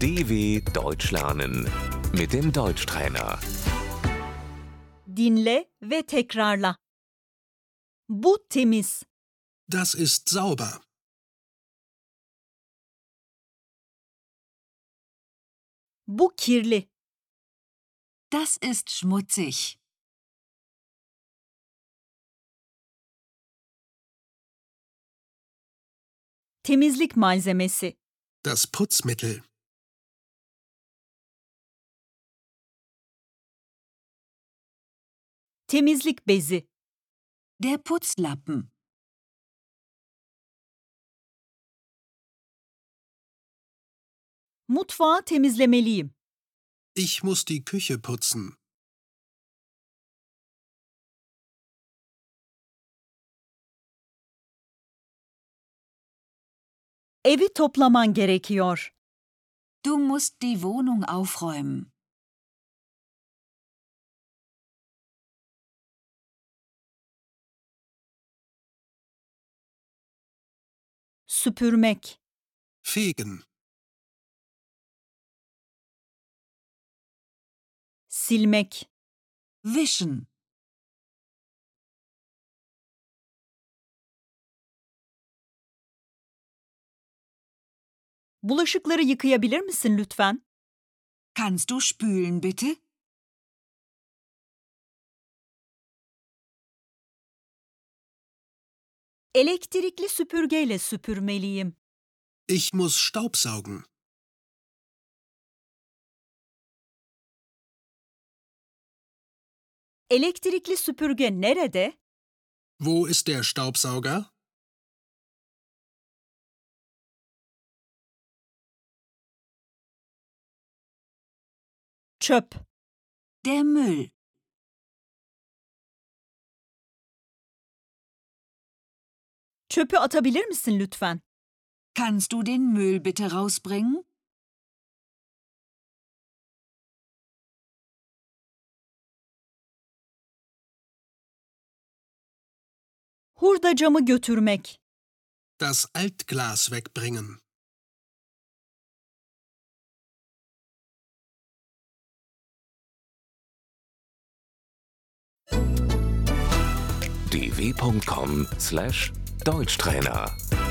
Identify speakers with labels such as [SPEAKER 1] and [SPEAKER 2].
[SPEAKER 1] DW Deutsch lernen mit dem Deutschtrainer.
[SPEAKER 2] Dinle ve tekrarla. Bu temiz.
[SPEAKER 3] Das ist sauber.
[SPEAKER 2] Bu kirli.
[SPEAKER 4] Das ist schmutzig.
[SPEAKER 2] Temizlik malzemesi.
[SPEAKER 3] Das Putzmittel.
[SPEAKER 2] Temizlik bezi.
[SPEAKER 4] Der Putzlappen.
[SPEAKER 2] Mutfağı temizlemeliyim.
[SPEAKER 3] Ich muss die Küche putzen.
[SPEAKER 2] Evi toplaman gerekiyor.
[SPEAKER 4] Du musst die Wohnung aufräumen.
[SPEAKER 2] Süpürmek.
[SPEAKER 3] Fegen.
[SPEAKER 2] Silmek.
[SPEAKER 4] Wischen.
[SPEAKER 2] Bulaşıkları yıkayabilir misin lütfen?
[SPEAKER 4] Kannst du spülen, bitte?
[SPEAKER 2] Elektrikli süpürgeyle süpürmeliyim.
[SPEAKER 3] Ich muss Staubsaugen.
[SPEAKER 2] Elektrikli süpürge nerede?
[SPEAKER 3] Wo ist der Staubsauger?
[SPEAKER 2] Çöp.
[SPEAKER 4] Der Müll.
[SPEAKER 2] Çöpü atabilir misin lütfen?
[SPEAKER 4] Kannst du den Müll bitte rausbringen?
[SPEAKER 2] Hurda camı götürmek.
[SPEAKER 3] Das Altglas wegbringen.
[SPEAKER 1] dw.com/deutschtrainer